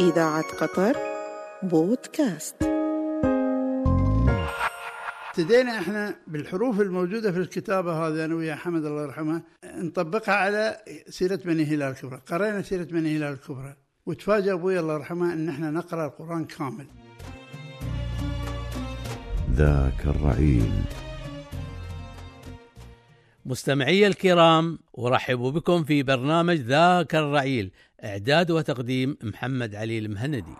إذاعة قطر بودكاست ابتدينا احنا بالحروف الموجوده في الكتابه هذه انا ويا حمد الله يرحمه نطبقها على سيره بني هلال الكبرى، قرينا سيره بني هلال الكبرى وتفاجأ ابوي الله يرحمه ان احنا نقرا القران كامل. ذاك الرعيل مستمعي الكرام أرحب بكم في برنامج ذاك الرعيل إعداد وتقديم محمد علي المهندي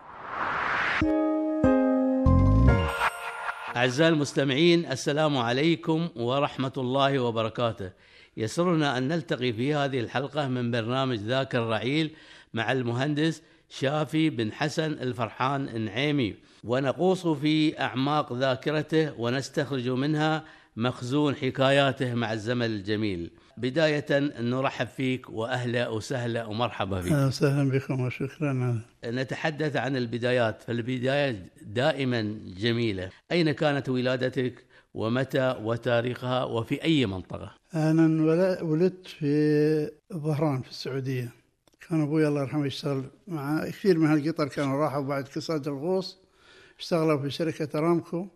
أعزائي المستمعين السلام عليكم ورحمة الله وبركاته يسرنا أن نلتقي في هذه الحلقة من برنامج ذاك الرعيل مع المهندس شافي بن حسن الفرحان النعيمي ونقوص في أعماق ذاكرته ونستخرج منها مخزون حكاياته مع الزمن الجميل بداية نرحب فيك وأهلا وسهلا ومرحبا بك اهلا وسهلا بكم وشكرا نتحدث عن البدايات فالبداية دائما جميلة أين كانت ولادتك ومتى وتاريخها وفي أي منطقة انا انول- ولدت في ظهران في السعوديه. كان ابوي الله يرحمه يشتغل مع كثير من هالقطر كانوا راحوا بعد كساد الغوص اشتغلوا في شركه ارامكو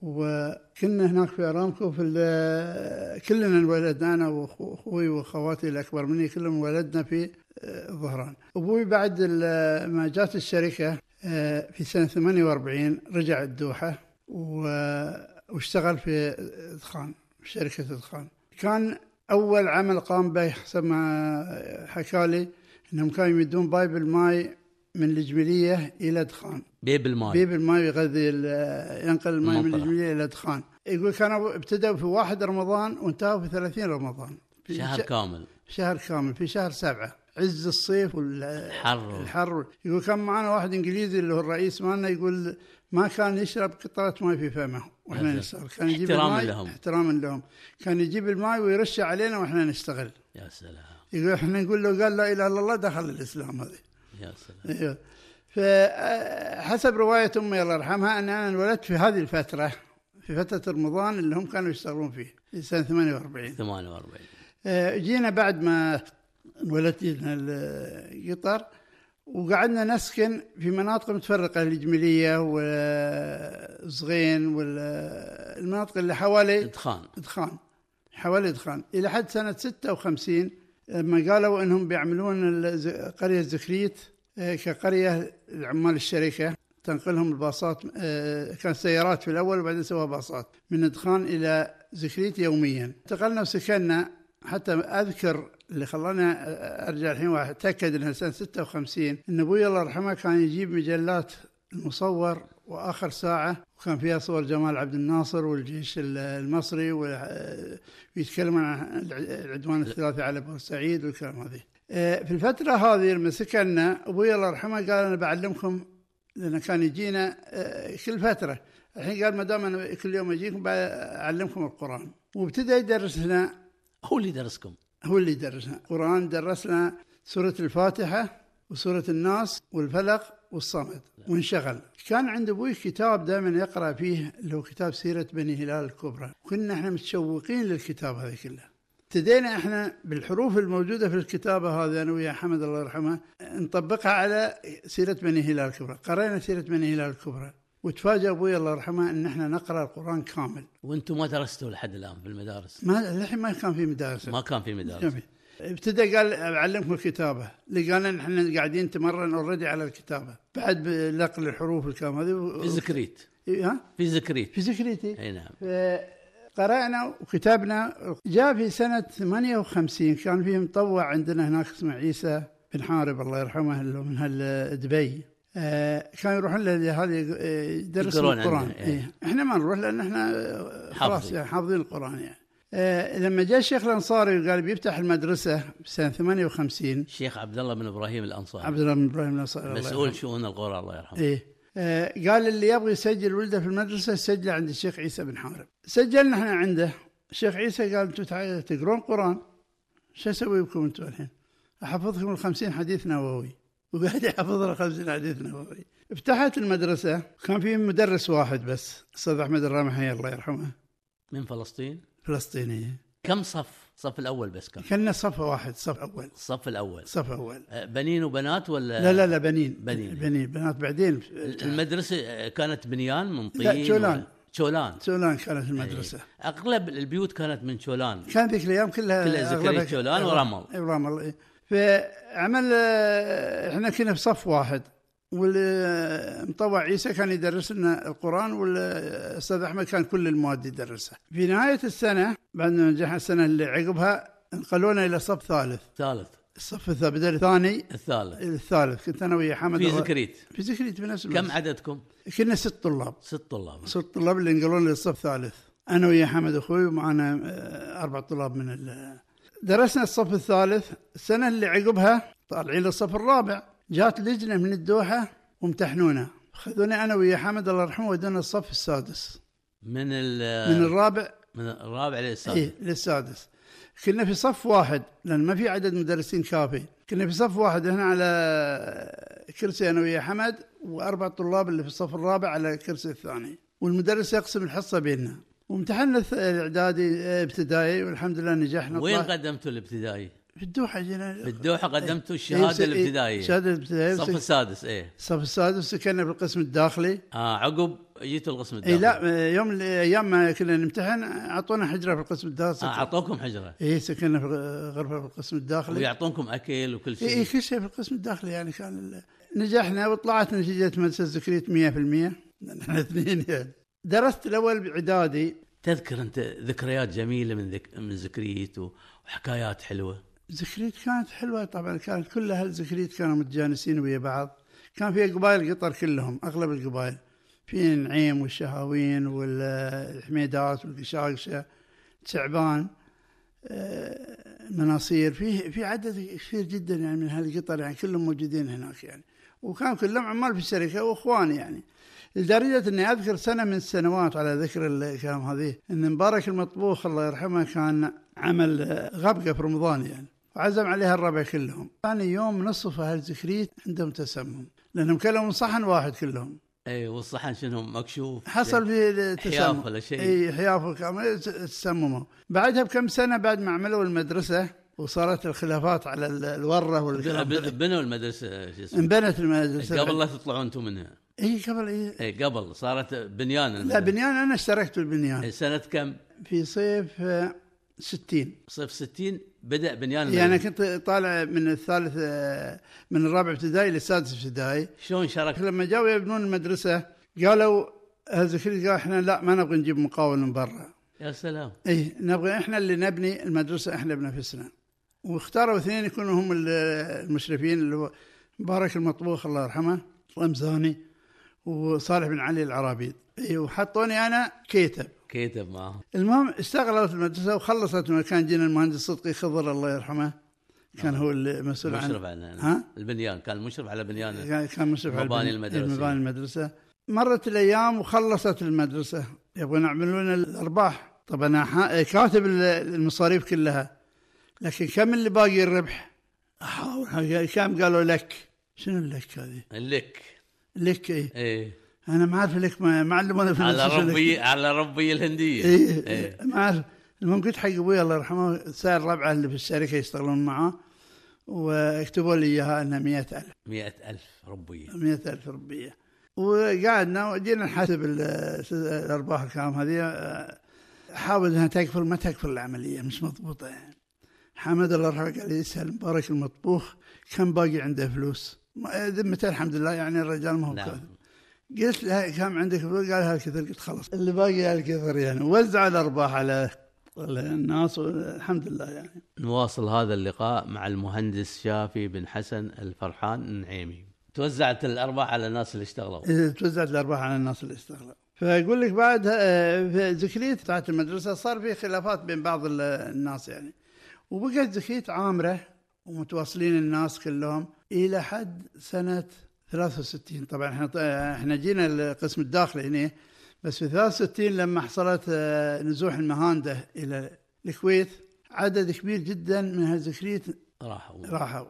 وكنا هناك في ارامكو في ال- كلنا انولدنا انا واخوي واخواتي الاكبر مني كلهم انولدنا في آه، ظهران. ابوي بعد ال- ما جات الشركه آه، في سنه 48 رجع الدوحه و- واشتغل في ادخان في شركه ادخان. كان اول عمل قام به حسب ما حكى لي انهم كانوا يمدون بايب الماي من الجميليه الى دخان بيب الماي بيب الماي يغذي ال- ينقل الماي من المنطقة. الجميليه الى دخان يقول كانوا ابتدوا في 1 رمضان وانتهوا في 30 رمضان في شهر ش- كامل شهر كامل في شهر سبعة عز الصيف والحر حر الحر يقول كان معنا واحد انجليزي اللي هو الرئيس مالنا يقول ما كان يشرب قطرة ماء في فمه واحنا أجل. نشتغل كان يجيب احتراما الماي لهم. احتراما لهم كان يجيب الماء ويرشه علينا واحنا نشتغل يا سلام يقول احنا نقول له قال لا اله الا الله دخل الاسلام هذا آه، يا سلام ايوه فحسب روايه امي الله يرحمها ان انا انولدت في هذه الفتره في فتره رمضان اللي هم كانوا يشتغلون فيه في سنه 48 48 آه، جينا بعد ما انولدت لنا القطر وقعدنا نسكن في مناطق متفرقة الجميلية والصغين والمناطق اللي حوالي ادخان إدخان حوالي إدخان إلى حد سنة 56 لما قالوا أنهم بيعملون الز- قرية زكريت آه، كقرية لعمال الشركة تنقلهم الباصات آه، كان سيارات في الأول وبعدين سووها باصات من إدخان إلى زكريت يوميا انتقلنا وسكننا حتى أذكر اللي خلاني آه، أرجع الحين وأتأكد أنها سنة 56 أن أبوي الله يرحمه كان يجيب مجلات المصور واخر ساعه وكان فيها صور جمال عبد الناصر والجيش ال- المصري وال- ويتكلمون عن الع- العدوان الثلاثي على بورسعيد والكلام هذه. آه، في الفتره هذه لما سكننا ابوي الله يرحمه قال انا بعلمكم لان كان يجينا آه، كل فتره الحين قال ما دام انا كل يوم اجيكم بعلمكم القران وابتدى يدرس لنا هو اللي درسكم هو اللي درسنا القرآن درسنا سورة الفاتحة وسورة الناس والفلق والصمد وانشغل كان عند ابوي كتاب دائما يقرا فيه اللي هو كتاب سيرة بني هلال الكبرى وكنا احنا متشوقين للكتاب هذا كله ابتدينا احنا بالحروف الموجوده في الكتابه هذه انا ويا حمد الله يرحمه نطبقها على سيره بني هلال الكبرى، قرينا سيره بني هلال الكبرى وتفاجأ ابوي الله يرحمه ان احنا نقرا القران كامل، وانتم ما درستوا لحد الان في المدارس ما الحين ما كان في مدارس ما كان في مدارس جميل ابتدى قال اعلمكم الكتابه لقانا نحن قاعدين نتمرن اوريدي على الكتابه بعد نقل الحروف والكلام هذا و- إيه، في زكريت ها في زكريت في ذكريتي اي نعم قرانا وكتابنا جاء في سنه 58 كان في مطوع عندنا هناك اسمه عيسى بن حارب الله يرحمه اللي هو من هال- دبي آه، كان يروحون لهذه آه، درس يقرون القران عنده، إيه. إيه. احنا ما نروح لان احنا آه، خلاص حافظين. يعني حافظين القران يعني آه، لما جاء الشيخ الانصاري وقال بيفتح المدرسه سنه 58 الشيخ عبد الله بن ابراهيم الانصاري عبد الله بن ابراهيم الانصاري الله آه. مسؤول شؤون القرى الله يرحمه ايه آه، قال اللي يبغى يسجل ولده في المدرسه سجله عند الشيخ عيسى بن حارب سجلنا احنا عنده الشيخ عيسى قال انتم تعالوا تقرون قران شو اسوي بكم انتم الحين؟ احفظكم ال 50 حديث نووي وقاعد يحفظ ال 50 حديث نووي فتحت المدرسه كان في مدرس واحد بس استاذ احمد الرامحي الله يرحمه من فلسطين فلسطيني كم صف الصف الاول بس كان كنا صف واحد صف اول الصف الاول صف اول آه، بنين وبنات ولا لا لا لا بنين بنين. بنين بنات بعدين المدرسه آه، كانت بنيان من طين لا، شولان. ولا- شولان سولان كانت المدرسه اغلب البيوت كانت من شولان كان ذيك الايام كلها كلها زكريا أغلبها- جولان ورمل. إيه، ورمل إيه. فعمل آه، احنا كنا في صف واحد والمطوع عيسى كان يدرس لنا القران والاستاذ احمد كان كل المواد يدرسها. في نهايه السنه بعد ما نجحنا السنه اللي عقبها انقلونا الى صف ثالث، الثالث الصف الث- بدل الثاني الثالث الثالث كنت انا ويا حمد في الله- زكريت في زكريت بنفس كم المدرسة. عددكم؟ كنا ست طلاب ست طلاب ست طلاب اللي انقلونا للصف الثالث انا ويا حمد اخوي ومعنا آه، اربع طلاب من ال... درسنا الصف الثالث السنه اللي عقبها طالعين للصف الرابع جات لجنه من الدوحه وامتحنونا خذوني انا ويا حمد الله يرحمه ودونا الصف السادس من ال من الرابع من الرابع للسادس إيه للسادس كنا في صف واحد لان ما في عدد مدرسين كافي كنا في صف واحد هنا على كرسي انا ويا حمد واربع طلاب اللي في الصف الرابع على الكرسي الثاني والمدرس يقسم الحصه بيننا وامتحنا الث- الاعدادي آه، ابتدائي والحمد لله نجحنا وين طلع- قدمتوا الابتدائي؟ في الدوحه جينا في الدوحه إيه. قدمتوا الشهاده الابتدائيه الشهاده الابتدائيه الصف وسك- السادس ايه الصف السادس سكننا في القسم الداخلي آه عقب جيتوا القسم اي الداخلي لا آه، يوم الايام ما كنا نمتحن اعطونا حجره في القسم الداخلي آه اعطوكم حجره ايه سكننا في غرفه في القسم الداخلي ويعطونكم اكل وكل اي إي شيء كل شيء إيه، في القسم الداخلي يعني كان ال- نجحنا وطلعت نتيجه مدرسه زكريت 100% لأن احنا اثنين يعني درست الاول باعدادي تذكر انت ذكريات جميله من ذك... من زكريت و- وحكايات حلوه زكريت كانت حلوه طبعا كانت كل اهل زكريت كانوا متجانسين ويا بعض كان في قبائل قطر كلهم اغلب القبائل في نعيم والشهاوين والحميدات والقشاقشه شعبان آه، مناصير في في عدد كثير جدا يعني من هالقطر يعني كلهم موجودين هناك يعني وكان كلهم عمال في الشركه واخوان يعني لدرجه اني اذكر سنه من السنوات على ذكر الكلام هذه ان مبارك المطبوخ الله يرحمه كان عمل آه، غبقه في رمضان يعني وعزم عليها الربع كلهم كان يوم نصف اهل زكريت عندهم تسمم لانهم كلوا من صحن واحد كلهم اي والصحن شنو مكشوف حصل في تسمم ولا شيء. اي حياف كامل تسمموا بعدها بكم سنه بعد ما عملوا المدرسه وصارت الخلافات على ال- الوره بن- والكلام بن- هذا. بنوا المدرسه شو اسمه انبنت المدرسه قبل لا تطلعوا انتم منها اي قبل اي اي قبل صارت بنيان لا المدرسة. بنيان انا اشتركت بالبنيان إيه، سنه كم؟ في صيف آه، 60 صيف 60 بدا بنيان يعني انا المدرسة. كنت طالع من الثالث آه، من الرابع ابتدائي للسادس ابتدائي شلون شاركت؟ لما جاوا يبنون المدرسه قالوا هذكري قال احنا لا ما نبغى نجيب مقاول من برا يا سلام اي نبغى احنا اللي نبني المدرسه احنا بنفسنا واختاروا اثنين يكونوا هم ال- المشرفين اللي هو مبارك المطبوخ الله يرحمه رمزاني وصالح بن علي العرابيد اي وحطوني انا كيتب كيتب معهم المهم اشتغلت المدرسه وخلصت لما كان جينا المهندس صدقي خضر الله يرحمه كان هو المسؤول عن مشرف آه. على ها؟ يعني- البنيان كان مشرف على بنيان كان- كان مشرف على مباني البن- المدرسة. مباني المدرسة مرت الأيام وخلصت المدرسة يبغون يعملون الأرباح طبعا ح- كاتب ال- المصاريف كلها لكن كم اللي باقي الربح؟ أحاول كم قالوا لك؟ شنو اللك هذه؟ لك لك ايه ايه انا ما اعرف لك ما ما علمونا في على المدرسة شنو لك. ربي على ربي الهنديه ايه إيه، ما اعرف المهم قلت حق ابوي الله يرحمه سائر ربعه اللي في الشركه يشتغلون معاه واكتبوا لي اياها انها 100000 100000 ربية مئة ألف ربية وقعدنا وجينا نحاسب ال- الأرباح الكلام هذه آه، حاول أنها تكفل ما تكفل العملية مش مضبوطة يعني حمد الله يرحمه قال يسأل مبارك المطبوخ كم باقي عنده فلوس ما- ذمته الحمد لله يعني الرجال ما هو كاذب نعم قلت له كم عندك فلوس قال هالكثر قلت خلاص اللي باقي هالكثر يعني وزع الأرباح على على الناس والحمد لله يعني نواصل هذا اللقاء مع المهندس شافي بن حسن الفرحان النعيمي توزعت الارباح على الناس اللي اشتغلوا إذا إيه، توزعت الارباح على الناس اللي اشتغلوا فاقول لك بعد آه، في زكريت بتاعت المدرسه صار في خلافات بين بعض ال- الناس يعني وبقت زكريت عامره ومتواصلين الناس كلهم الى حد سنه 63 طبعا احنا احنا جينا القسم الداخلي هنا بس في 63 لما حصلت آه، نزوح المهانده الى الكويت عدد كبير جدا من هالزكريت راحوا راحوا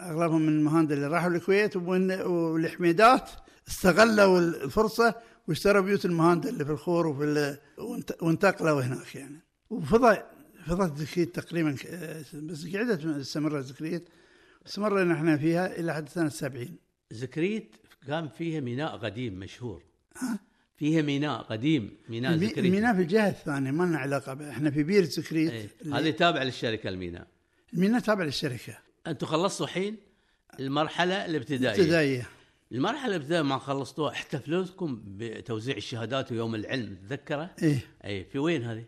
اغلبهم من المهندس اللي راحوا الكويت ومن- والحميدات استغلوا الفرصه واشتروا بيوت المهندس اللي في الخور وفي ال- وانت- وانتقلوا هناك يعني وفضى فضلت زكريت تقريبا آه، بس قعدت استمرت زكريت استمرنا احنا فيها الى حد سنه 70 زكريت كان فيها ميناء قديم مشهور فيها ميناء قديم ميناء مي- زكريت ميناء في الجهه الثانيه ما لنا علاقه بها احنا في بير زكريت إيه. اللي- هذه تابع للشركه الميناء الميناء تابع للشركه انتم خلصتوا حين المرحله الابتدائيه ابتدائيه المرحله الابتدائيه ما خلصتوها احتفلتكم بتوزيع الشهادات ويوم العلم تذكره ايه اي في وين هذه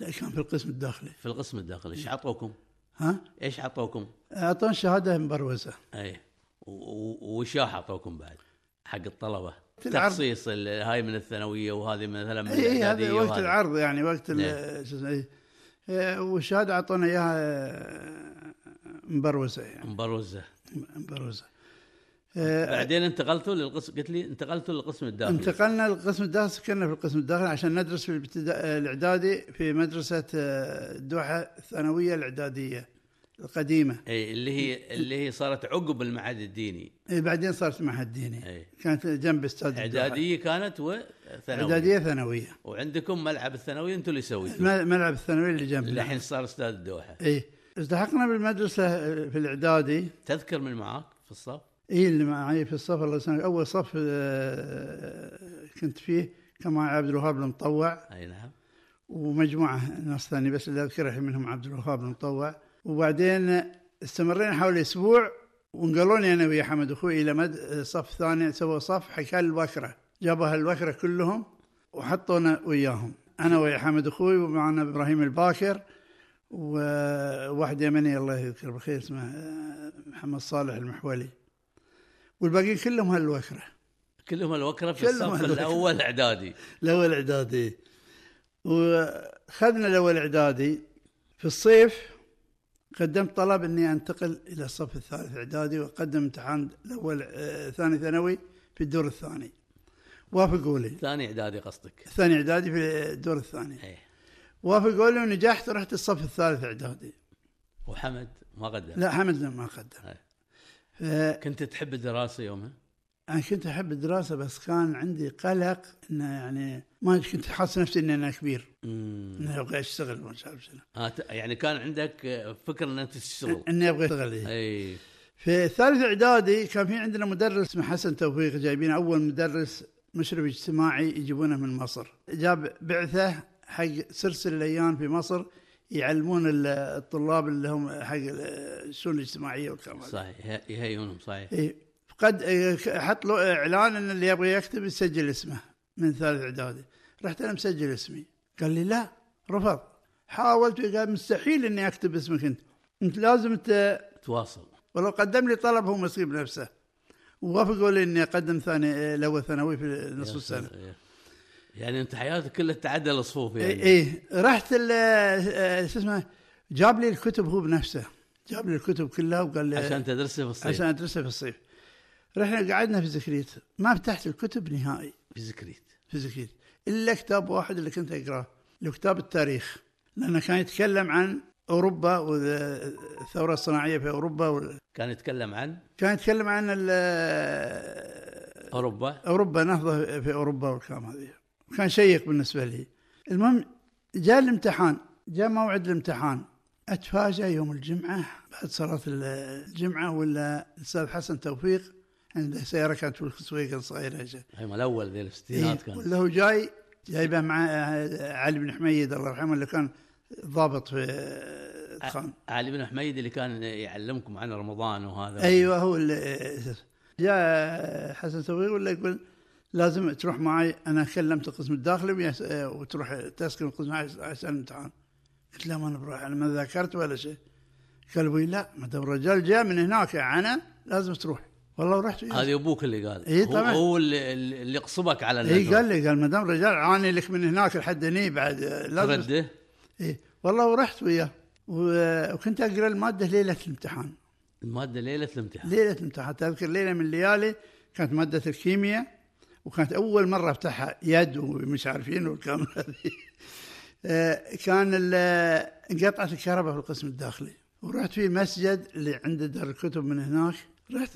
لا كان في القسم الداخلي في القسم الداخلي ايش عطوكم ها ايش عطوكم اعطونا شهاده مبروزه اي إيه. و- و- وشاح اعطوكم بعد حق الطلبه العرض. تخصيص ال- هاي من الثانويه وهذه مثلا من اي الإعدادية هذا إيه، وقت وهذه. العرض يعني وقت ال- نعم. شو اسمه إيه. إيه، والشهاده اعطونا اياها آه، مبروزه يعني مبروزه مبروزه آه، بعدين انتقلتوا للقسم قلت لي انتقلتوا للقسم الداخلي انتقلنا للقسم الداخلي سكننا في القسم الداخلي عشان ندرس في الابتدا... الاعدادي في مدرسه آه، الدوحه الثانويه الاعداديه القديمه اي إيه، اللي هي اللي هي صارت عقب المعهد الديني إيه، بعدين صارت معهد ديني اي كانت جنب استاد الدوحة. اعداديه كانت وثانويه اعداديه ثانويه وعندكم ملعب الثانوي انتم اللي سويتوه الم- ملعب الثانوي اللي جنبنا الحين صار استاد الدوحه اي التحقنا بالمدرسه آه، في الاعدادي تذكر من معاك في الصف اي إيه، اللي معي في الصف الله يسلمك اول صف آه، كنت فيه كان معي عبد الوهاب المطوع اي نعم ومجموعه ناس ثانيه بس اللي اذكر الحين منهم عبد الوهاب المطوع وبعدين استمرينا حوالي اسبوع وانقلوني انا ويا حمد اخوي الى مد... صف ثاني سووا صف حكى الوكره جابوا هالوكره كلهم وحطونا وياهم انا ويا حمد اخوي ومعنا ابراهيم الباكر وواحد يمني الله يذكره بالخير اسمه آه، محمد صالح المحولي والباقيين كلهم هالوكره كلهم الوكره في كلهم الصف الوكرة. الاول اعدادي الاول اعدادي وخذنا الاول اعدادي في الصيف قدمت طلب اني انتقل الى الصف الثالث اعدادي واقدم امتحان الاول آه، ثاني ثانوي في الدور الثاني وافقوا لي ثاني اعدادي قصدك إيه. ثاني اعدادي في الدور الثاني اي وافقوا لي ونجحت ورحت الصف الثالث اعدادي وحمد ما قدم لا حمد ما قدم إيه. ف- كنت تحب الدراسه يومها انا كنت احب الدراسه بس كان عندي قلق انه يعني ما كنت حاسس نفسي اني انا كبير امم اني ابغى اشتغل وما أعرف شنو آه ت- يعني كان عندك آه، فكر ان انت تشتغل اني ابغى اشتغل إيه. اي في الثالث اعدادي كان في عندنا مدرس اسمه حسن توفيق جايبين اول مدرس مشرف اجتماعي يجيبونه من مصر جاب بعثه حق سلسله الايام في مصر يعلمون ال- الطلاب اللي هم حق ال- الشؤون الاجتماعيه والكلام هذا. صحيح يه- يهيونهم صحيح إيه. قد إيه، ك- حط له اعلان ان اللي يبغى يكتب يسجل اسمه من ثالث اعدادي رحت انا مسجل اسمي قال لي لا رفض حاولت قال مستحيل اني اكتب اسمك انت انت لازم ت... تواصل ولو قدم لي طلب هو مصيب نفسه ووافقوا لي اني اقدم ثاني الاول ثانوي في نصف السنه إيه. يعني انت حياتك كلها تعدى الصفوف اي يعني إيه رحت ال- آه، شو اسمه جاب لي الكتب هو بنفسه جاب لي الكتب كلها وقال لي عشان تدرسها في الصيف عشان ادرسها في الصيف رحنا قعدنا في زكريت ما فتحت الكتب نهائي في زكريت في زكريت الا كتاب واحد اللي كنت اقراه اللي هو كتاب التاريخ لانه كان يتكلم عن اوروبا والثوره الصناعيه في اوروبا وال- كان يتكلم عن كان يتكلم عن ال- اوروبا اوروبا نهضه في اوروبا والكلام هذه كان شيق بالنسبه لي المهم جاء الامتحان جاء موعد الامتحان اتفاجئ يوم الجمعه بعد صلاه ال- الجمعه ولا الاستاذ حسن توفيق عنده سياره كانت في السويق صغيره جا. هم الاول ذي الستينات كان ولا هو جاي جايبه مع علي بن حميد الله يرحمه اللي كان ضابط في الخان علي بن حميد اللي كان يعلمكم عن رمضان وهذا ايوه هو اللي جاء حسن توفيق ولا يقول لازم تروح معي انا كلمت القسم الداخلي ويس- وتروح تسكن القسم عش- عشان الامتحان قلت له ما انا بروح انا ما ذاكرت ولا شيء قال ابوي لا ما دام الرجال جاء من هناك انا لازم تروح والله رحت وياه. هذا ابوك اللي قال إيه هو, طبعاً. هو اللي, اللي قصبك على اي النجوى. إيه، قال لي قال ما دام الرجال عاني لك من هناك لحد هني بعد آه، لازم رده اي والله ورحت وياه و- آه، وكنت اقرا الماده ليله الامتحان الماده ليله الامتحان ليله امتحان تذكر ليله من الليالي كانت ماده الكيمياء وكانت اول مره افتحها يد ومش عارفين والكلام هذه آه، كان ال- انقطعت الكهرباء في القسم الداخلي ورحت في مسجد اللي عند دار الكتب من هناك رحت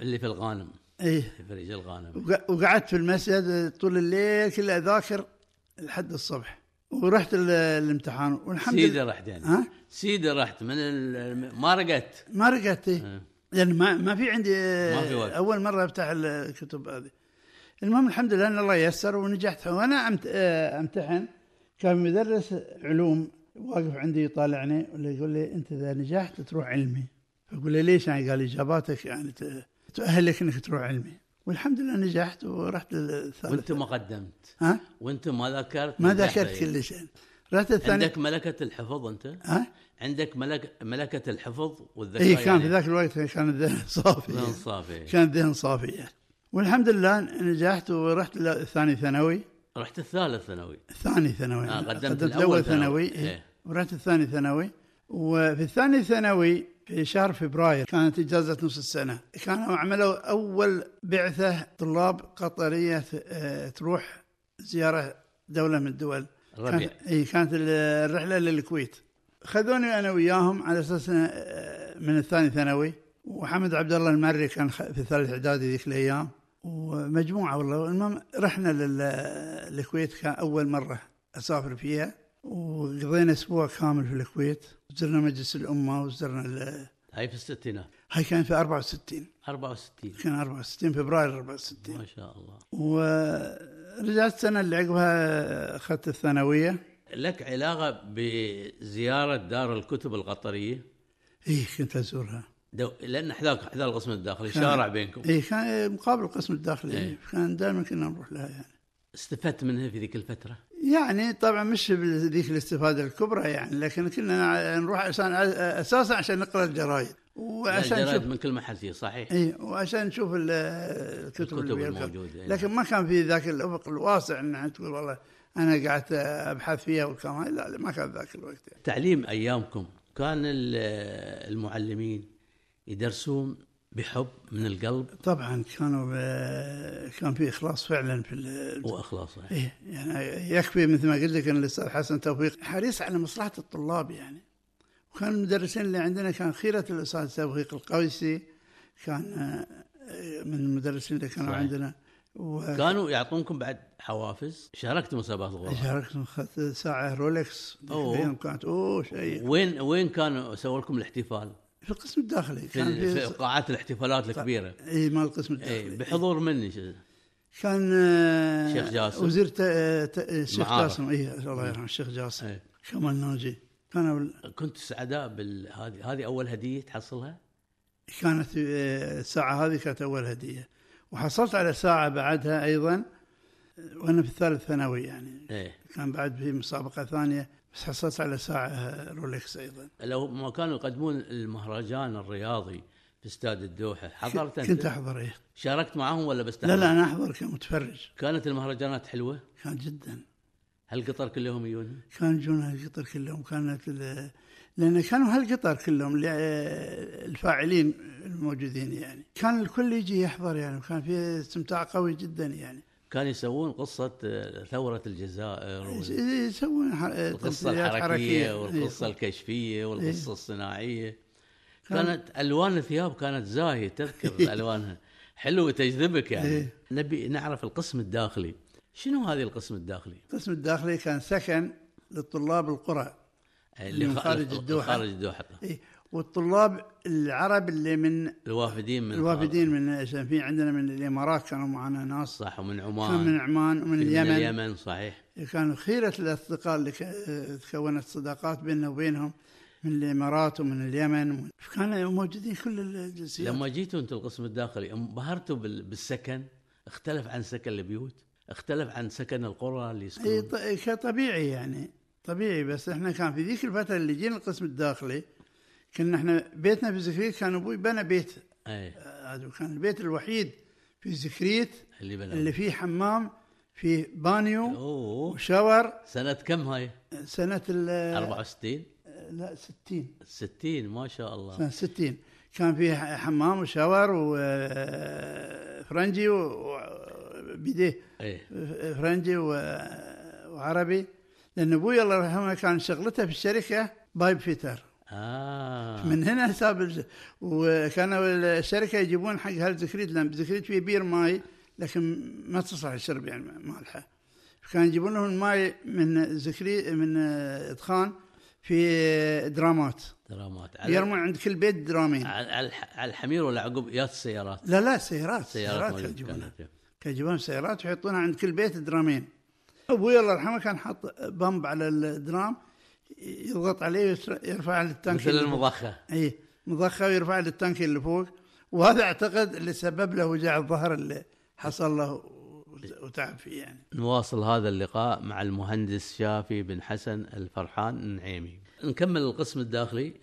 اللي في الغانم ايه في فريج الغانم وق- وقعدت في المسجد طول الليل كله اذاكر لحد الصبح ورحت ال- الامتحان والحمد سيدي لله رحت يعني ها سيدي رحت من ال... ما رقدت ما إيه. رجعت آه. لان ما ما في عندي ما في وقت. اول مره افتح الكتب هذه المهم الحمد لله ان الله يسر ونجحت وانا أمت- آه، امتحن كان مدرس علوم واقف عندي يطالعني ولا يقول لي انت اذا نجحت تروح علمي اقول له ليش يعني قال اجاباتك يعني ت- تؤهلك انك تروح علمي والحمد لله نجحت ورحت وانت الثالث ما قدمت ها وانت ما ذاكرت ما نجحت ذاكرت يعني. كل شيء رحت الثاني عندك ملكه الحفظ انت ها عندك ملك ملكه الحفظ والذكاء اي إيه، كان في يعني. ذاك الوقت كان الذهن صافي ذهن صافي كان ذهن صافي والحمد لله نجحت ورحت لثاني ثانوي رحت الثالث ثانوي ثاني ثانوي آه، قدمت الأول الأول ثانوي. ثانوي إيه. إيه. ورحت الثاني ثانوي وفي الثاني ثانوي في شهر فبراير كانت إجازة نص السنة كانوا عملوا أول بعثة طلاب قطرية آه، تروح زيارة دولة من الدول الربيع. كانت- إيه كانت ال- الرحلة للكويت خذوني أنا وياهم على أساس إن- آه، من الثاني ثانوي وحمد عبد الله المري كان خ- في الثالث إعدادي ذيك الأيام ومجموعة والله المهم رحنا لل- للكويت كان أول مرة أسافر فيها وقضينا أسبوع كامل في الكويت زرنا مجلس الأمة وزرنا ال- هاي في الستينات هاي كان في 64 64 كان 64 فبراير 64 ما شاء الله ورجعت السنة اللي عقبها آه، أخذت الثانوية لك علاقه بزياره دار الكتب القطريه إيه كنت أزورها دو... لان احداك احدى القسم الداخلي شارع بينكم إيه كان مقابل القسم الداخلي إيه. إيه. كان دائما كنا نروح لها يعني استفدت منها في ذيك الفتره يعني طبعا مش بذيك الاستفادة الكبرى يعني لكن كنا نروح عشان أساسا عشان نقرأ الجرايد وعشان الجرائد نشوف من كل محل فيه صحيح إيه وعشان نشوف ال- الكتب, الكتب اللي بيركب. الموجودة، إيه. لكن ما كان في ذاك الأفق الواسع أن تقول والله أنا قعدت أبحث فيها والكلام هذا. لا لا، ما كان ذاك الوقت يعني. تعليم ايامكم كان ال- المعلمين يدرسون بحب من القلب طبعا كانوا ب- كان في اخلاص فعلا في ال- واخلاص يعني. إيه يعني يكفي مثل ما قلت لك ان الاستاذ حسن توفيق حريص على مصلحه الطلاب يعني وكان المدرسين اللي عندنا كان خيره الاستاذ توفيق القويسي كان آه، من المدرسين اللي كانوا صحيح. عندنا وكان كانوا يعطونكم بعد حوافز شاركت مسابقات الغرف شاركت اخذت ساعه رولكس أوه. أيام كانت اوه شيء وين وين كانوا سووا لكم الاحتفال؟ في القسم الداخلي في, كان في إيه، في قاعات الاحتفالات الكبيره اي مال القسم الداخلي اي بحضور مني شو- كان آه، شيخ جاسم. وزير ت- آه، ت- آه، الشيخ معارف. جاسم اي الله يرحمه الشيخ جاسم إيه. كمال ناجي كان أول- كنت سعداء بال هذه هذه اول هديه تحصلها؟ كانت آه، الساعة هذه كانت أول هدية وحصلت على ساعة بعدها أيضا آه، وأنا في الثالث ثانوي يعني ايه كان بعد في مسابقة ثانية بس حصلت على ساعة آه، رولكس أيضا لو ما كانوا يقدمون المهرجان الرياضي في استاد الدوحه حضرت كنت انت؟ أحضر إيه شاركت معاهم ولا بس لا تحضر؟ لا أنا أحضر كمتفرج كانت المهرجانات حلوه؟ كان جدا هل قطر كلهم يجون؟ كان يجون هالقطر كلهم كانت ال- لأن كانوا هالقطر كلهم اللي- آه، الفاعلين الموجودين يعني كان الكل يجي يحضر يعني وكان في استمتاع قوي جدا يعني كانوا يسوون قصه آه، ثوره الجزائر وال- يسوون ح- القصه تمثيليات الحركيه إيه. والقصه الكشفيه والقصه الصناعيه كان- كانت الوان الثياب كانت زاهيه تذكر الوانها حلوه تجذبك يعني إيه. نبي نعرف القسم الداخلي شنو هذه القسم الداخلي القسم الداخلي كان سكن للطلاب القرى اللي من خ- خارج الخ- الدوحة. خارج الدوحه إيه، والطلاب العرب اللي من الوافدين من الوافدين من عشان في عندنا من الامارات كانوا معنا ناس صح ومن كان عمان من عمان ومن في- من اليمن إيه، اليمن صحيح كانوا خيره الاصدقاء اللي ك- آه، تكونت صداقات بيننا وبينهم من الامارات ومن اليمن ومن- كانوا موجودين كل الجنسيات لما جيتوا انتم القسم الداخلي انبهرتوا بال- بالسكن اختلف عن سكن البيوت اختلف عن سكن القرى اللي اي يسكنون إيه، ط- كطبيعي يعني طبيعي بس احنا كان في ذيك الفتره اللي جينا القسم الداخلي كنا احنا بيتنا في زكريت كان ابوي بنى بيت اي هذا كان البيت الوحيد في زكريت اللي بلا اللي فيه حمام فيه بانيو اوه وشاور سنة كم هاي؟ سنة ال 64 لا 60 60 ما شاء الله سنة 60 كان فيه حمام وشاور وفرنجي وبيديه ايه فرنجي و- آه، وعربي لأن أبوي الله يرحمه كان شغلته في الشركة بايب فيتر اه من هنا ساب الج- وكانوا الشركه يجيبون حق هالزكريت لان زكريت فيه بير ماي لكن ما تصلح الشرب يعني مالحه كان يجيبون لهم الماي من زكري من ادخان في درامات درامات على- يرمون عند كل بيت درامين على على- على الحمير ولا عقب يا السيارات لا لا سيارات سيارات سيارات كانوا موجودة يجيبونها كانت. كانوا يجيبونها سيارات ويحطونها عند كل بيت درامين ابوي الله يرحمه كان حاط بامب على الدرام يضغط عليه ويسر- يرفع للتانك مثل اللي فوق. المضخه اي مضخه ويرفع للتانك اللي فوق وهذا اعتقد اللي سبب له وجع الظهر اللي حصل له وت- وتعب فيه يعني نواصل هذا اللقاء مع المهندس شافي بن حسن الفرحان النعيمي نكمل القسم الداخلي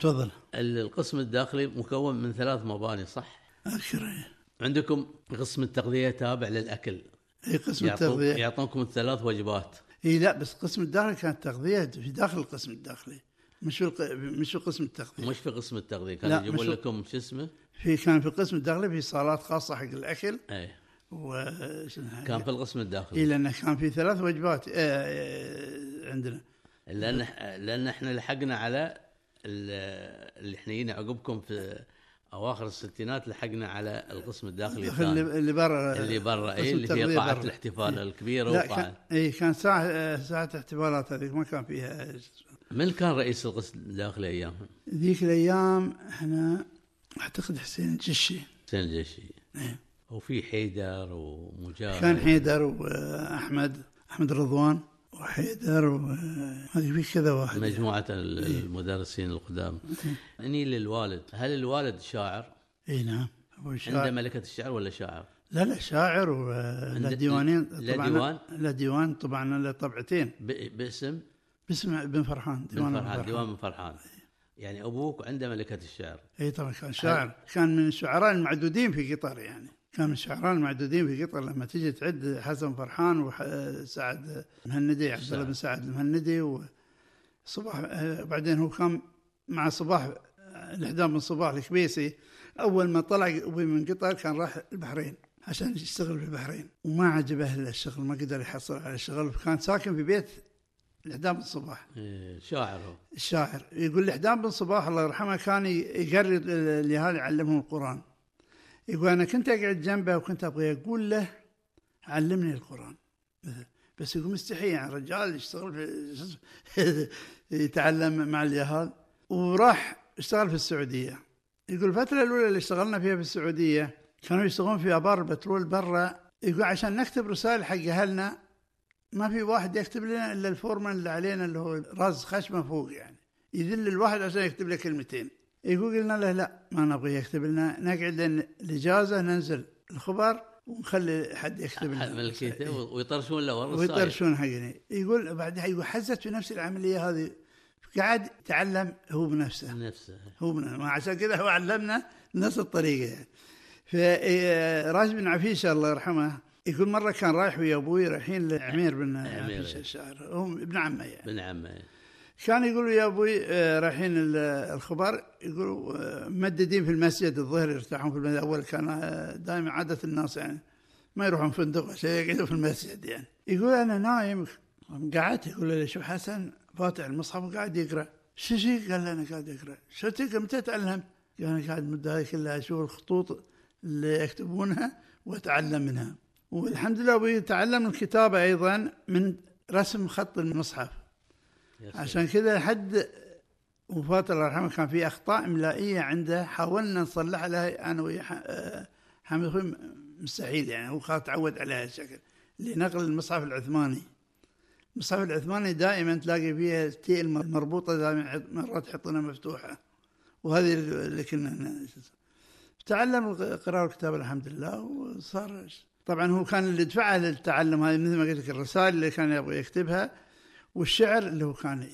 تفضل القسم الداخلي مكون من ثلاث مباني صح ابشر عندكم قسم التغذيه تابع للاكل اي إيه، قسم يعطون- التغذيه يعطونكم الثلاث وجبات اي لا بس قسم الداخلي كانت تغذيه في داخل القسم الداخلي مش في الق... مش في قسم التغذيه مش في قسم التغذيه لا، كانوا مش يجيبون في- لكم شو اسمه في كان في القسم الداخلي في صالات خاصه حق الاكل اي و إيه، كان في القسم اي الداخلي لانه كان في ثلاث وجبات آه، آه، عندنا لان لان احنا لحقنا على ال- اللي احنا جينا عقبكم في اواخر الستينات لحقنا على القسم الداخلي اللي الثاني اللي برا اللي برا قسم اي اللي التغذية هي قاعه برا. إيه. الاحتفال الكبيره لا كان وقاعه اي كان ساعه آه، ساعه احتفالات هذيك ما كان فيها من كان رئيس القسم الداخلي ايامها؟ ذيك الايام احنا اعتقد حسين الجشي حسين الجيشي وفي حيدر ومجاهد نعم. كان حيدر واحمد احمد رضوان وحيدر وهذه في كذا واحد إيه. نعم. مجموعة ال- المدرسين القدام اني للوالد هل الوالد شاعر اي نعم ابو عنده شاعر ملكة الشعر ولا شاعر لا لا شاعر و- له ديوانين له طبعاً- ديوان؟ له ديوان طبعا له طبعتين ب- باسم باسم ابن فرحان بن ديوان ابن فرحان ديوان بن فرحان يعني ابوك عنده ملكة الشعر اي طبعا كان شاعر كان من الشعراء المعدودين في قطر يعني كان من الشعراء المعدودين في قطر لما تجي تعد حسن فرحان وسعد المهندي عبد الله بن سعد المهندي وصباح آه، بعدين هو كان مع صباح آه، الاحدام بن صباح الكبيسي اول ما طلع أبوي من قطر كان راح البحرين عشان يشتغل في البحرين وما عجبه إلا الشغل ما قدر يحصل على شغل كان ساكن في بيت الاحدام بن صباح إيه، شاعر هو الشاعر يقول لحدان بن صباح الله يرحمه كان يقري لهذا يعلمهم القرآن يقول أنا كنت أقعد جنبه وكنت أبغى أقول له علمني القرآن مثل بس يقول مستحيل يعني رجال يشتغل في يتعلم مع اليهال وراح اشتغل في السعودية يقول الفترة الأولى اللي اشتغلنا فيها في السعودية كانوا يشتغلون في آبار البترول برا يقول عشان نكتب رسائل حق أهلنا ما في واحد يكتب لنا الا الفورمان اللي علينا اللي هو راس خشمه فوق يعني يذل الواحد عشان يكتب له كلمتين يقول قلنا له لا ما نبغى يكتب لنا نقعد لين الاجازه ننزل الخبر ونخلي حد يكتب لنا ملكيته و- ويطرشون له ورا الرسائل. إيه. ويطرشون حقنا يقول بعدها يقول حزت في نفس العمليه هذه قاعد يتعلم هو بنفسه نفسه هو من ما عشان كذا هو علمنا نفس الطريقه يعني. فراشد بن عفيشه الله يرحمه يقول مره كان رايح ويا ابوي رايحين لعمير بن عمير. عفيشه الشاعر هو ابن عمه يعني بن عمه كان يقول يا ابوي آه، رايحين ال- الخبر يقولوا آه، مددين في المسجد الظهر يرتاحون في المسجد اول كان آه، دائما عاده الناس يعني ما يروحون فندق عشان يقعدوا في المسجد يعني يقول انا نايم قعدت يقول لي شوف حسن فاتح المصحف وقاعد يقرا شو شي قال لي انا قاعد اقرا شو تقرا متى تعلم؟ قال انا قاعد المده هاي كلها اشوف الخطوط اللي يكتبونها واتعلم منها والحمد لله ابوي تعلم الكتابه ايضا من رسم خط المصحف يا سلام. عشان كذا لحد وفاة الله يرحمه كان في أخطاء إملائية عنده حاولنا نصلح لها أنا ويا ح- آه، حامد أخوي م- مستحيل يعني هو خلاص تعود على هالشكل لنقل المصحف العثماني المصحف العثماني دائما تلاقي فيها التي المربوطة دائما يحط- مرات يحطونها مفتوحة وهذه اللي كنا ن- تعلم القراءة والكتابة الحمد لله وصار طبعا هو كان اللي دفعه للتعلم هذا مثل ما قلت لك الرسائل اللي كان يبغى يكتبها والشعر اللي هو كان ي-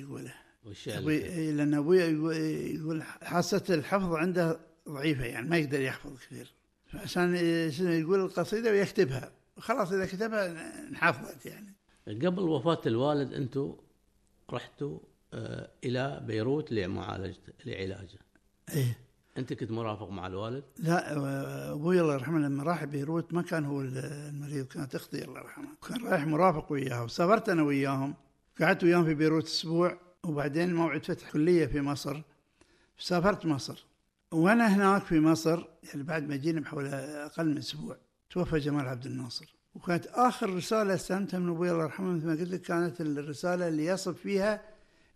يقوله والشعر أبوي الكبير. إيه، لان ابوي يقول- يقول حاسه الحفظ عنده ضعيفه يعني ما يقدر يحفظ كثير عشان يقول القصيده ويكتبها خلاص اذا كتبها انحفظت يعني قبل وفاه الوالد انتم رحتوا آه، الى بيروت لمعالجته لعلاجه ايه انت كنت مرافق مع الوالد لا آه، ابوي الله يرحمه لما راح بيروت ما كان هو المريض كانت اختي الله يرحمها كان رايح مرافق وياها وسافرت انا وياهم قعدت وياهم في بيروت اسبوع وبعدين موعد فتح كليه في مصر سافرت مصر وانا هناك في مصر يعني بعد ما جينا بحوالي اقل من اسبوع توفى جمال عبد الناصر وكانت آخر رسالة استلمتها من أبوي الله يرحمه مثل ما قلت لك كانت الرسالة اللي يصف فيها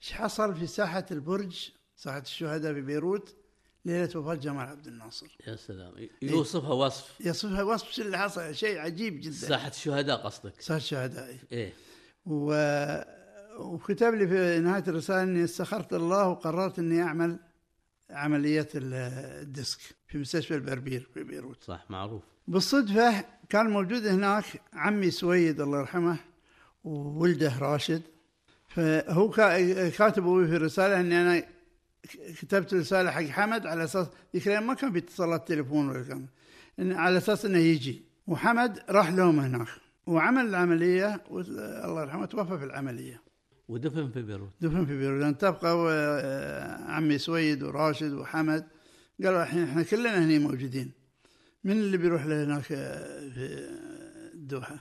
ايش حصل في ساحة البرج ساحة الشهداء في بيروت ليلة وفاة جمال عبد الناصر يا إيه. سلام يوصفها وصف يصفها وصف اللي حصل شيء عجيب جدا ساحه الشهداء قصدك ساحة الشهداء إيه. ايه و... وكتب لي في نهاية الرسالة أني استخرت الله وقررت أني أعمل عملية ال- الديسك في مستشفى البربير في بيروت صح معروف بالصدفة كان موجود هناك عمي سويد الله يرحمه وولده راشد فهو كا- كاتب أبوي في رسالة أني أنا كتبت رسالة حق حمد على أساس ذيك الأيام ما كان في اتصالات تليفون ولا كان إن على أساس أنه يجي وحمد راح لهم هناك وعمل العملية وال- الله يرحمه توفى في العملية ودفن في بيروت دفن في بيروت لأن تبقى و- آه، عمي سويد وراشد وحمد قالوا الحين احنا كلنا هنا موجودين من اللي بيروح لهناك آه، في الدوحة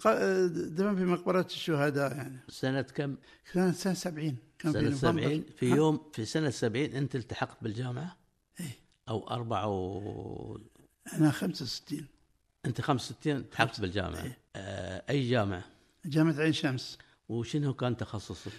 فدفن في مقبرة الشهداء يعني سنه كم؟ كانت سنة 70 كان في سنه نوفمبر. أه، 70 في ها؟ يوم في سنه 70 انت التحقت بالجامعه؟ إيه. او أربعة و... أنا 65 انت 65 التحقت بالجامعه إيه. آه، اي جامعه؟ جامعة عين شمس وشنو كان تخصصك؟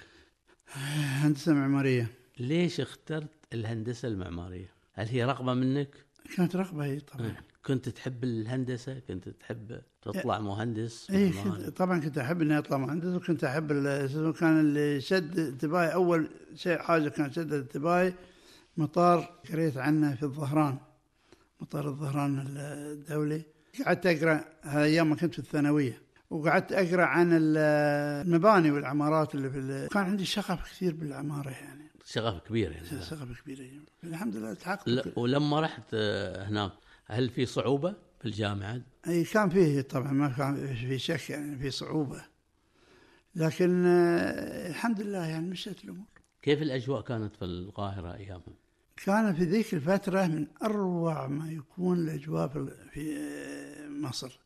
هندسة معمارية ليش اخترت الهندسه المعماريه؟ هل هي رغبه منك؟ كانت رغبة هي طبعا إيه. كنت تحب الهندسه؟ كنت تحب إيه. تطلع مهندس؟ اي معمار؟ كنت- طبعا كنت احب اني اطلع مهندس وكنت احب ال- شو اسمه كان اللي شد انتباهي اول شيء حاجه كان شد انتباهي مطار قريت عنه في الظهران مطار الظهران الدولي قعدت اقرا ايام ما كنت في الثانويه وقعدت اقرا عن ال- المباني والعمارات اللي في ال- كان عندي شغف كثير بالعماره يعني شغف كبير يعني شغف كبير يعني. الحمد لله الحقت ل- ولما رحت آه، هناك هل في صعوبه في الجامعه؟ اي كان فيه طبعا ما كان في شك يعني في صعوبه لكن آه، الحمد لله يعني مشت الامور كيف الاجواء كانت في القاهره ايامها؟ كان في ذيك الفتره من اروع ما يكون الاجواء في- في آه، مصر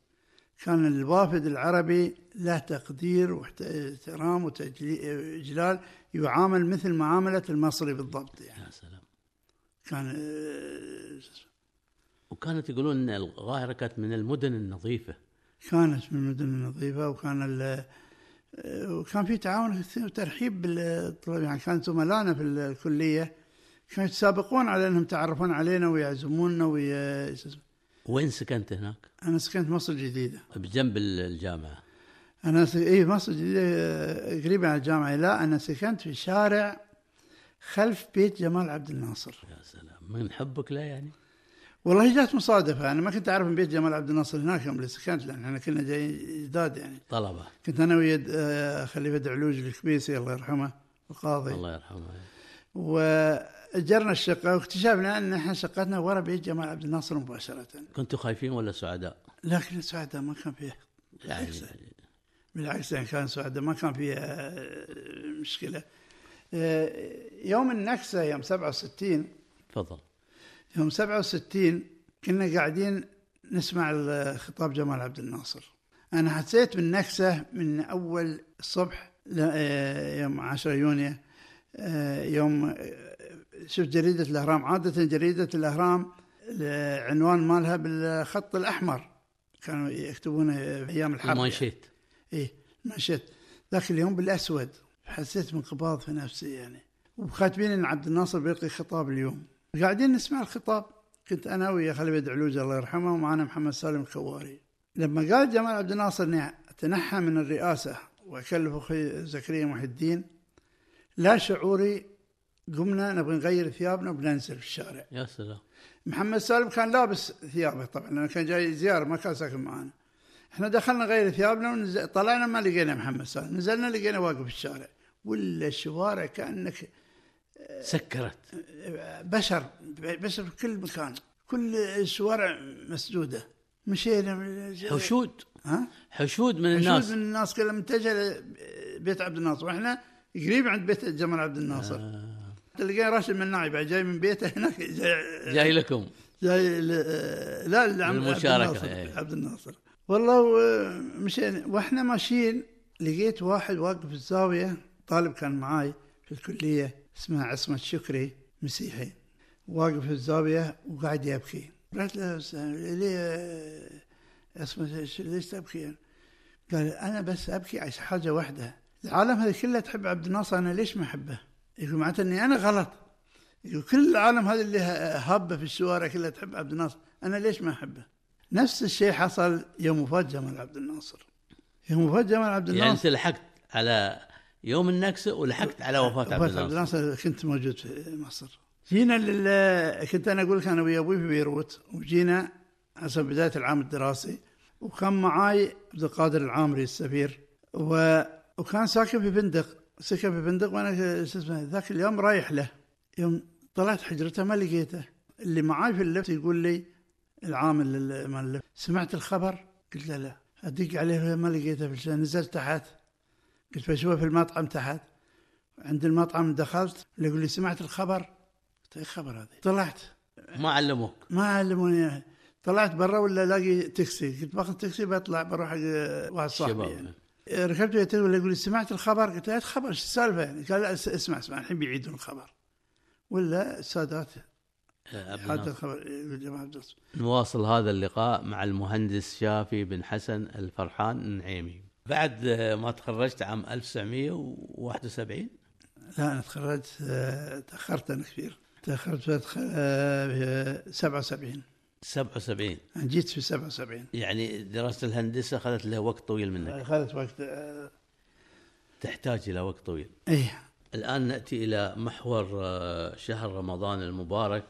كان الوافد العربي له تقدير واحترام وإجلال يعامل مثل معاملة المصري بالضبط يعني يا سلام كان آه، وكانت يقولون ان القاهره كانت من المدن النظيفه كانت من المدن النظيفة وكان ال وكان في تعاون كثير وترحيب بالطلاب يعني كان زملائنا في الكلية كانوا يتسابقون على انهم يتعرفون علينا ويعزمونا وي... شو اسمه. وين سكنت هناك؟ انا سكنت مصر الجديدة بجنب ال- الجامعه انا س... اي مصر الجديدة آه، قريبة على الجامعة لا انا سكنت في شارع خلف بيت جمال عبد الناصر يا سلام من حبك لا يعني؟ والله جات مصادفة انا ما كنت اعرف من بيت جمال عبد الناصر هناك يوم اللي سكنت لان احنا كنا جايين جداد يعني طلبه كنت انا ويا د- آه، خليفه دعلوج الكبيسي الله يرحمه القاضي الله يرحمه واجرنا الشقه واكتشفنا ان احنا شقتنا ورا بيت جمال عبد الناصر مباشره كنتوا خايفين ولا سعداء؟ لكن سعداء ما كان فيها يعني بالعكس يعني كان سعداء ما كان فيها آه، مشكله آه، يوم النكسه يوم 67 تفضل يوم 67 كنا قاعدين نسمع ال- خطاب جمال عبد الناصر انا حسيت بالنكسه من اول الصبح ل- آه، يوم 10 يونيو آه، يوم آه، شفت جريده الاهرام عاده جريده الاهرام العنوان مالها بالخط الاحمر كانوا يكتبونه في ايام الحرب المانشيت ايه مشيت ذاك اليوم بالاسود حسيت بانقباض في نفسي يعني وكاتبين ان عبد الناصر بيلقي خطاب اليوم قاعدين نسمع الخطاب كنت انا ويا خليفه دعلوج الله يرحمه ومعنا محمد سالم الكواري لما قال جمال عبد الناصر اني اتنحى من الرئاسه واكلف اخوي زكريا محي الدين لا شعوري قمنا نبغى نغير ثيابنا وبننزل في الشارع يا سلام محمد سالم كان لابس ثيابه طبعا لانه كان جاي زياره ما كان ساكن معنا. احنا دخلنا غير ثيابنا ونزل... طلعنا ما لقينا محمد سالم، نزلنا لقينا واقف في الشارع ولا الشوارع كانك سكرت بشر بشر في كل مكان، كل الشوارع مسدوده. مشينا حشود أه. ها؟ حشود من الناس الناس من الناس كلها متجهه لبيت عبد الناصر واحنا قريب عند بيت جمال عبد الناصر. تلقى راشد مناعي بعد جاي من بيته هناك جاي جاي لكم جاي ل- آه، لا لعم- للمشاركة، عبد إيه. الناصر, عبد الناصر والله و- مشينا واحنا ماشيين لقيت واحد واقف في الزاويه طالب كان معاي في الكليه اسمه عصمه شكري مسيحي واقف في الزاويه وقاعد يبكي رحت له "أستاذ، ليه اسمه "ش- ليش تبكي؟ قال انا بس ابكي عشان حاجه واحده العالم هذا كله تحب عبد الناصر انا ليش ما احبه؟ يقول معناته اني انا غلط يقول كل العالم هذا اللي ه- هابه في الشوارع كلها تحب عبد الناصر انا ليش ما احبه؟ نفس الشيء حصل يوم وفاه جمال عبد الناصر يوم وفاه جمال عبد يعني انت الناصر لحقت على يوم النكسه ولحقت على وفاه عبد وفاه عبد الناصر الناصر كنت موجود في مصر جينا لل... كنت انا اقول لك انا ويا ابوي في بيروت وجينا حسب بدايه العام الدراسي وكان معاي عبد القادر العامري السفير و... وكان ساكن في فندق سكن في فندق وانا شو اسمه ذاك اليوم رايح له يوم طلعت حجرته ما لقيته اللي معاي في اللفت يقول لي العامل ال- مال اللفت سمعت الخبر؟ قلت له لا ادق عليه ما لقيته في الشارع. نزلت تحت قلت بشوفه في المطعم تحت عند المطعم دخلت يقول لي سمعت الخبر؟ قلت ايه الخبر هذا؟ طلعت ما علموك ما علموني إياه. طلعت برا ولا الاقي تاكسي قلت باخذ تاكسي بطلع بروح حق واحد صاحبي شباب يعني. ركبت وياه تلفون، يقول لي سمعت الخبر؟ قلت له "إيه الخبر ايش السالفه يعني؟ قال لا اس- اسمع اسمع الحين بيعيدون الخبر ولا السادات آه، عبد حتى الناصر. الخبر يقول جماعه عبد الناصر. نواصل هذا اللقاء مع المهندس شافي بن حسن الفرحان النعيمي بعد آه، ما تخرجت عام 1971 لا انا تخرجت آه، تاخرت انا كثير تاخرت في آه، في 77 77 أنا جيت في 77 يعني دراسه الهندسه اخذت لها وقت طويل منك اخذت وقت آه، تحتاج الى وقت طويل ايه الآن نأتي إلى محور آه، شهر رمضان المبارك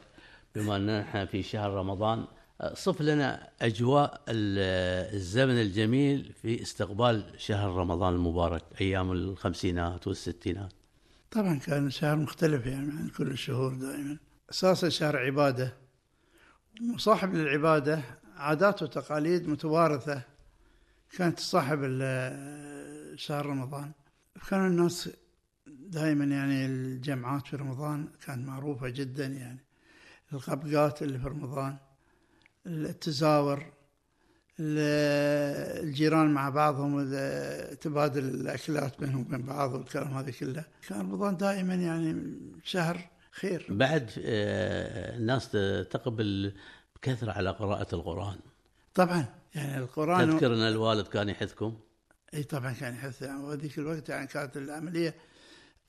بما أننا نحن في شهر رمضان آه، صف لنا أجواء ال- آه، الزمن الجميل في استقبال شهر رمضان المبارك أيام الخمسينات والستينات طبعا كان شهر مختلف يعني عن كل الشهور دائما اساسا شهر عباده مصاحب للعباده عادات وتقاليد متوارثه كانت تصاحب ال- شهر رمضان كانوا الناس دائما يعني الجمعات في رمضان كانت معروفه جدا يعني القبقات اللي في رمضان التزاور ال- الجيران مع بعضهم وال- تبادل الاكلات بينهم وبين بعض والكلام هذا كله كان رمضان دائما يعني شهر خير بعد آه، الناس تقبل بكثرة على قراءة القرآن طبعا يعني القران تذكر أن الوالد كان يحثكم اي طبعا كان يحث يعني وهذيك الوقت يعني كانت العمليه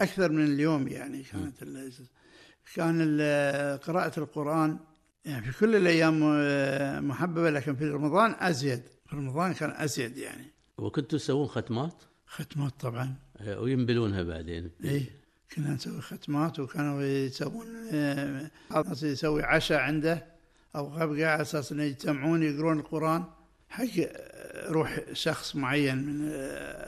اكثر من اليوم يعني كانت ال- كان ال- قراءه القران يعني في كل الايام آه، محببه لكن في رمضان ازيد في رمضان كان ازيد يعني وكنتوا تسوون ختمات ختمات طبعا آه، وينبلونها بعدين اي كنا نسوي ختمات وكانوا يسوون آه، بعض الناس يسوي عشاء عنده او غبقه على اساس انه يجتمعون يقرون القران حق آه، روح شخص معين من آه،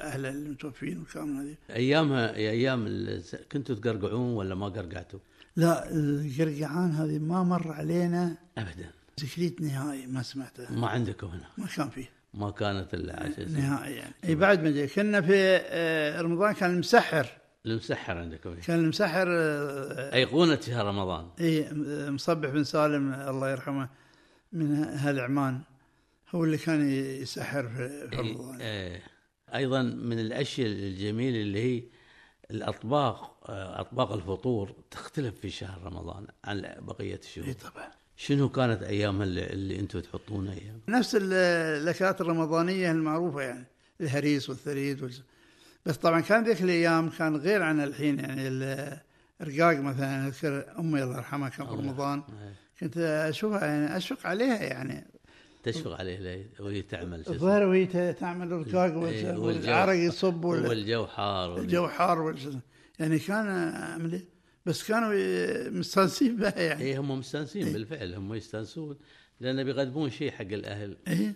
اهله المتوفين والكلام هذه أيامها أيام ال- كنتوا تقرقعون ولا ما قرقعتوا لا القرقعان هذه ما مر علينا أبداً تكريت نهائي ما سمعته ما عندكم هنا ما كان فيه ما كانت العشاء نهائي يعني اي بعد ما جاء كنا في آه، رمضان كان المسحر المسحر عندكم كان المسحر آه، ايقونه شهر رمضان اي مصبح بن سالم الله يرحمه من اهل عمان هو اللي كان يسحر في في رمضان إيه. ايضا من الاشياء الجميله اللي هي الاطباق آه، اطباق الفطور تختلف في شهر رمضان عن بقيه اي الشهور طبعا شنو كانت ايامها اللي, اللي انتم تحطونها ايام نفس ال- الاكلات الرمضانيه المعروفه يعني الهريس والثريد وال... بس طبعا كان ذيك الايام كان غير عن الحين يعني ال- الرقاق مثلا اذكر امي الله يرحمها كان في الله رمضان إيه. كنت اشوفها يعني اشفق عليها يعني تشفق عليه لي- وهي تعمل شو اسمه. الظاهر وهي ت- تعمل الرقاق إيه، وال- والجو- والعرق يصب وال- والجو حار وال- الجو حار وال- يعني كان عملي بس كانوا ي- مستانسين بها يعني اي إيه، هم مستانسين بالفعل هم يستانسون لان بيقدمون شيء حق الاهل ايه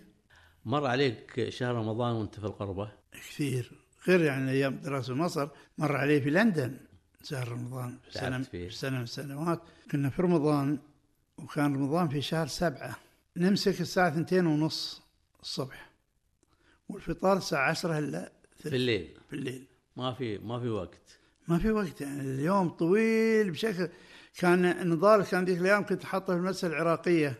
مر عليك شهر رمضان وانت في القربه كثير غير يعني ايام دراسه مصر مر علي في لندن شهر رمضان في تعبت سنه فيه. في سنه من السنوات كنا في رمضان وكان رمضان في شهر سبعة نمسك الساعة ثنتين ونص الصبح والفطار الساعة عشرة إلا في الليل بالليل ما في ما في وقت ما في وقت يعني اليوم طويل بشكل كان نضال كان ذيك الأيام كنت حاطه في المدرسة العراقية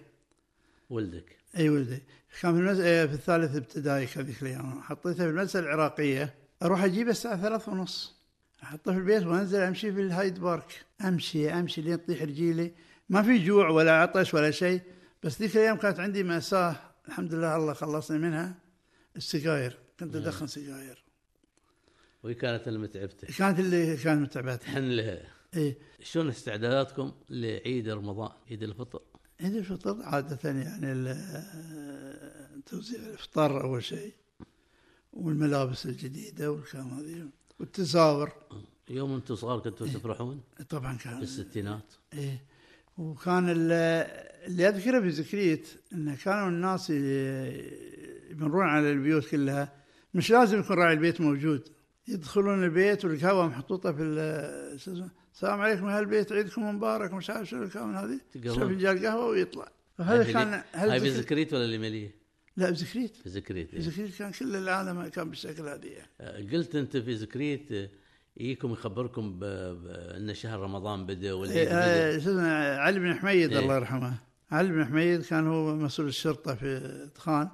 ولدك اي ولدي كان في, المس... آه، في الثالث ابتدائي كان ذيك الايام حطيته في المدرسه العراقيه اروح اجيبه الساعه ثلاث ونص احطه في البيت وانزل امشي في الهايد بارك امشي امشي لين تطيح رجيلي ما في جوع ولا عطش ولا شيء بس ذيك الايام كانت عندي ماساه الحمد لله الله خلصني منها السجاير كنت ادخن سجاير وهي كانت المتعبتك كانت اللي كانت إيه. متعبتها حن لها اي شلون استعداداتكم لعيد رمضان عيد الفطر عيد الفطر عادة يعني ال- توزيع الافطار اول شيء والملابس الجديده والكلام هذه والتزاور يوم انتم صغار كنتوا تفرحون طبعا كان بالستينات ايه وكان ال- اللي اذكره بذكريت انه كانوا الناس ي- يمرون على البيوت كلها مش لازم يكون راعي البيت موجود يدخلون البيت والقهوه محطوطه في ال- شو اسمه، السلام عليكم اهل البيت عيدكم مبارك مش عارف شنو الكلام هذه تقرون. يشرب فنجان قهوه ويطلع هاي فهذا بلي- كان هاي هالذكري- بذكريت ولا اليمليه؟ لا بذكريت بذكريت إيه. بذكريت كان كل العالم كان بالشكل هذا يعني. آه، قلت انت في ذكريت آه، يجيكم يخبركم ب... ب... ان شهر رمضان بدا ولا إيه، بدا آه، شو اسمه علي بن حميد إيه. الله يرحمه علي بن حميد كان هو مسؤول الشرطة في طخان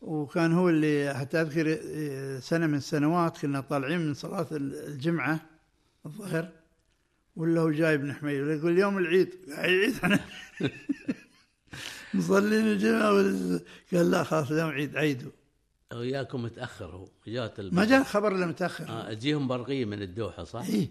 وكان هو اللي حتى أذكر إيه، سنة من السنوات كنا طالعين من صلاة الجمعة الظهر ولا هو جاي بن حميد ولا يقول يوم العيد عيد احنا مصلين الجمعة وال- قال لا خلاص اليوم عيد عيدوا وياكم متاخر هو جات البرق- ما جاء الخبر إلا متأخر نعم. آه تجيهم برقيه من الدوحه صح؟ إيه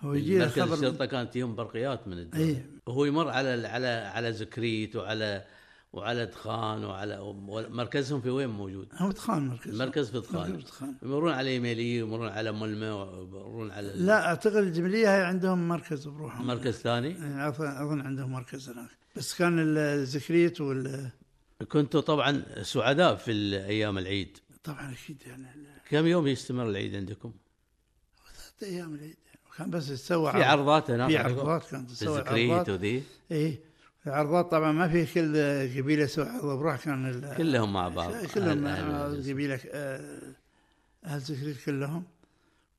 هو يجي يعني مركز الخبر الشرطه كانت تجيهم برقيات من الدوحه إيه. وهو يمر على على على زكريت وعلى وعلى دخان وعلى مركزهم في وين موجود؟ هو تخان مركز المركز في دخان مركز تخان يمرون على يميليه يمرون على ملمه يمرون على لا اعتقد الجبليه هاي عندهم مركز بروحهم مركز ثاني يعني اظن اظن عندهم مركز هناك بس كان الزكريت وال كنتوا طبعا سعداء في ايام العيد طبعا اكيد يعني ال- كم يوم يستمر العيد عندكم؟ ثلاث ايام العيد كان بس تسوى في عرضات هناك أيوة. في عندكم؟ عرضات كانت تسوي تذكريت عرضات وذي اي العرضات طبعا ما في كل قبيله سوى عرض بروح كان ال- كلهم مع بعض آه، كلهم أهل- أهل الجزء. قبيله آه، اهل زكريت كلهم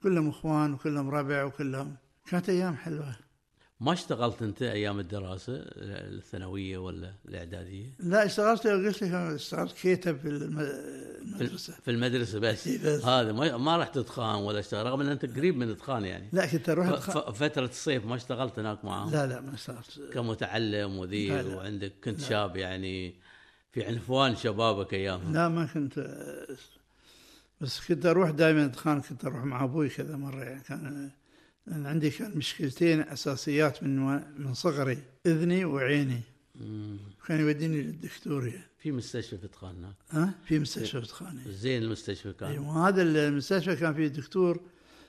كلهم اخوان وكلهم ربع وكلهم كانت ايام حلوه ما اشتغلت انت ايام الدراسه الثانويه ولا الاعداديه؟ لا اشتغلت قلت لك أنا اشتغلت كيتب في الم- المدرسه في المدرسه بس إي بس. هذا ما, ما رحت تخان ولا اشتغل رغم ان انت قريب من تخان يعني لا كنت اروح ف- آه. أتخ... ف- فتره الصيف ما اشتغلت هناك معاهم لا لا ما صارت كمتعلم لا، وذي لا. وعندك كنت شاب يعني في عنفوان شبابك ايامها لا ما كنت آه، بس كنت اروح دائما ادخان كنت اروح مع ابوي كذا مره يعني كان لأن عندي كان مشكلتين اساسيات من و- من صغري اذني وعيني مم. كان يوديني للدكتور يعني. في مستشفى في تخان هناك ها في إيه. مستشفى ادخاني زين المستشفى كان ايوه هذا المستشفى كان فيه دكتور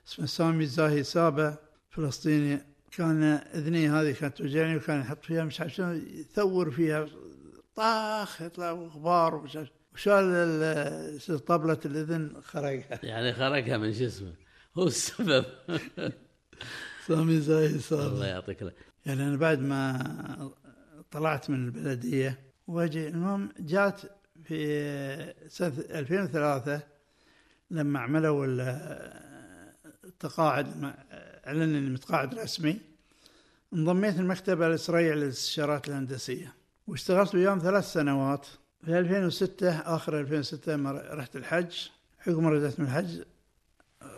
اسمه سامي زاهي سابع فلسطيني كان اذني هذه كانت توجعني وكان يحط فيها مش عارف شنو يثور فيها طاخ يطلع غبار ومش عارف وشال ال- شو طبلة الاذن خرقها يعني خرجها من جسمه هو السبب سامي زاهي الله سابع يعطيك العافية. يعني انا بعد ما طلعت من البلديه واجي المهم جات في سنه 2003 لما عملوا ال- التقاعد لما اعلن اني متقاعد رسمي انضميت المكتبه الاسرائيليه للاستشارات الهندسيه واشتغلت وياهم ثلاث سنوات في 2006 اخر 2006 لما رحت الحج عقب ما رجعت من الحج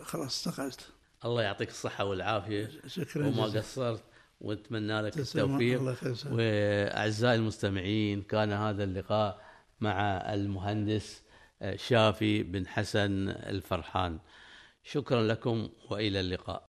خلاص استقلت الله يعطيك الصحه والعافيه شكرا وما جزيلا. قصرت ونتمنى لك تسلم. التوفيق الله يسلمك. واعزائي المستمعين كان هذا اللقاء مع المهندس آه، شافي بن حسن الفرحان شكرا لكم والى اللقاء